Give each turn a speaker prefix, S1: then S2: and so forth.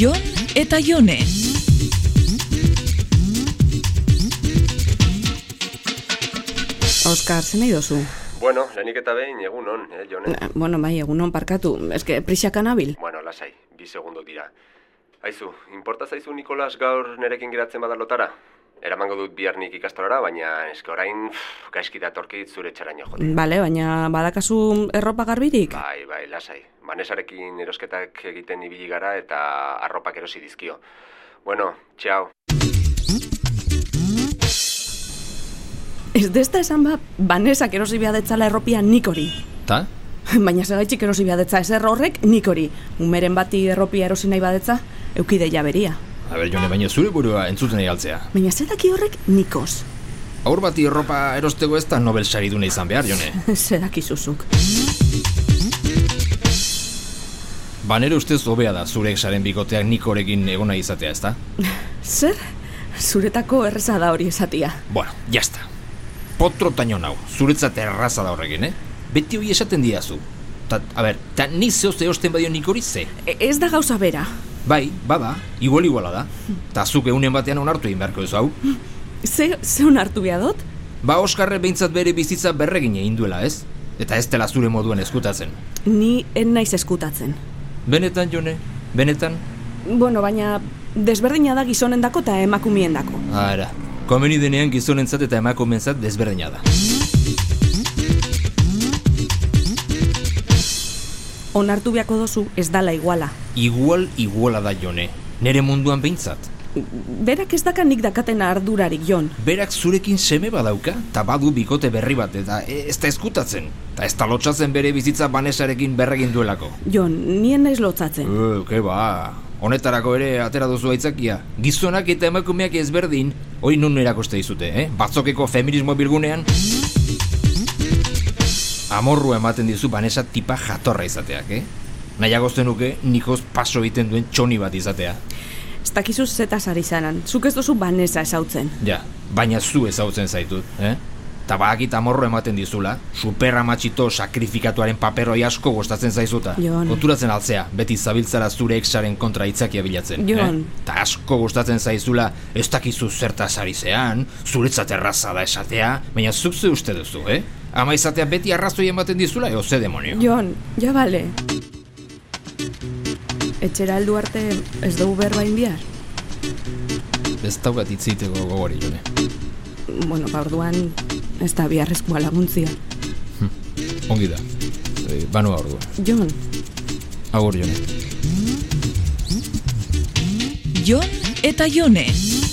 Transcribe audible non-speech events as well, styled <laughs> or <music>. S1: Jon eta Jone.
S2: Oskar, zen nahi dozu?
S3: Bueno, lehenik eta behin egun on, eh, Jone?
S2: Na, Bueno, bai, egunon parkatu. eske prisaka nabil.
S3: Bueno, lasai, bi segundo dira. Aizu, inporta zaizu Nikolas gaur nerekin geratzen bada lotara? Eramango dut biharnik ikastolara, baina eske orain pff, gaizki datorkit zure txaraino jote.
S2: Bale, baina badakazu erropa garbirik?
S3: Bai, bai, lasai. Banesarekin erosketak egiten ibili gara eta arropak erosi dizkio. Bueno, txau.
S2: Ez desta esan ba, banesak erosi behar detzala erropia nik hori. <laughs>
S4: Ta?
S2: Baina segaitxik erosi behar detza ezer horrek nik hori. Umeren bati erropia erosi nahi badetza, eukide jaberia.
S4: A ber, Jone, baina zure burua entzuten egaltzea.
S2: Baina zedaki horrek nikos. <laughs>
S4: Aur bati erropa erosteko ez da Nobel sariduna izan behar,
S2: <laughs>
S4: Jone.
S2: zedaki zuzuk.
S4: Banero Ba, ustez hobea da zure exaren bikoteak nikorekin egona izatea, ezta?
S2: Zer? Zuretako erreza da hori esatia.
S4: Bueno, jazta. Potro taino nau, zuretzat erraza da horrekin, eh? Beti hoi esaten didazu. Ta, a ber, ta ni zeoz erosten badio nikori ze?
S2: E- ez da gauza bera.
S4: Bai, bada, igual iguala da. Ta zuk egunen batean onartu egin beharko duzu hau.
S2: Ze, ze onartu behar dut?
S4: Ba Oskarre behintzat bere bizitza berregin egin duela, ez? Eta ez dela zure moduen eskutatzen.
S2: Ni en naiz eskutatzen.
S4: Benetan, Jone, benetan,
S2: Bueno, baina desberdina da gizonendako eta emakumeendako.
S4: Ara, komeni denean gizonentzat eta emakumeentzat desberdina da.
S2: Onartu beharko dozu ez dala iguala.
S4: Igual, iguala da jone. Nere munduan behintzat.
S2: Berak ez daka nik dakaten ardurarik jon.
S4: Berak zurekin seme badauka, eta badu bikote berri bat, eta e- ez da ezkutatzen. Eta ez da lotsatzen bere bizitza banesarekin berregin duelako.
S2: Jon, nien naiz lotzatzen.
S4: Ue, ke ba, honetarako ere atera duzu aitzakia. Gizonak eta emakumeak ezberdin, hori nun erakoste dizute, eh? Batzokeko feminismo bilgunean. Amorrua ematen dizu banesa tipa jatorra izateak, eh? Nahiago zenuke nikoz paso egiten duen txoni bat izatea.
S2: Ez dakizu zetaz ari zaran, zuk ez duzu banesa esautzen.
S4: Ja, baina zu ezautzen zaitut, eh? Ta badakit amorro ematen dizula, superra matxito sakrifikatuaren paperoi asko gustatzen zaizuta.
S2: Jon.
S4: Konturatzen altzea, beti zabiltzara zure exaren kontra hitzakia bilatzen.
S2: Jon.
S4: Eh? Ta asko gustatzen zaizula, ez dakizu zertaz ari zean, zuretzat erraza da esatea, baina zuk ze uste duzu, eh? Ama izatea beti arrazoi ematen dizula, eo ze demonio.
S2: Jon, ja bale. Etxera heldu arte ez dugu berbain bihar.
S4: Ez daukat itzeiteko gogori, jone.
S2: Bueno, ba orduan ez da biharrezkoa laguntzia.
S4: Ongi da. E, banua ordu.
S2: Jon,
S4: Agur, jone.
S1: Jon eta Jone.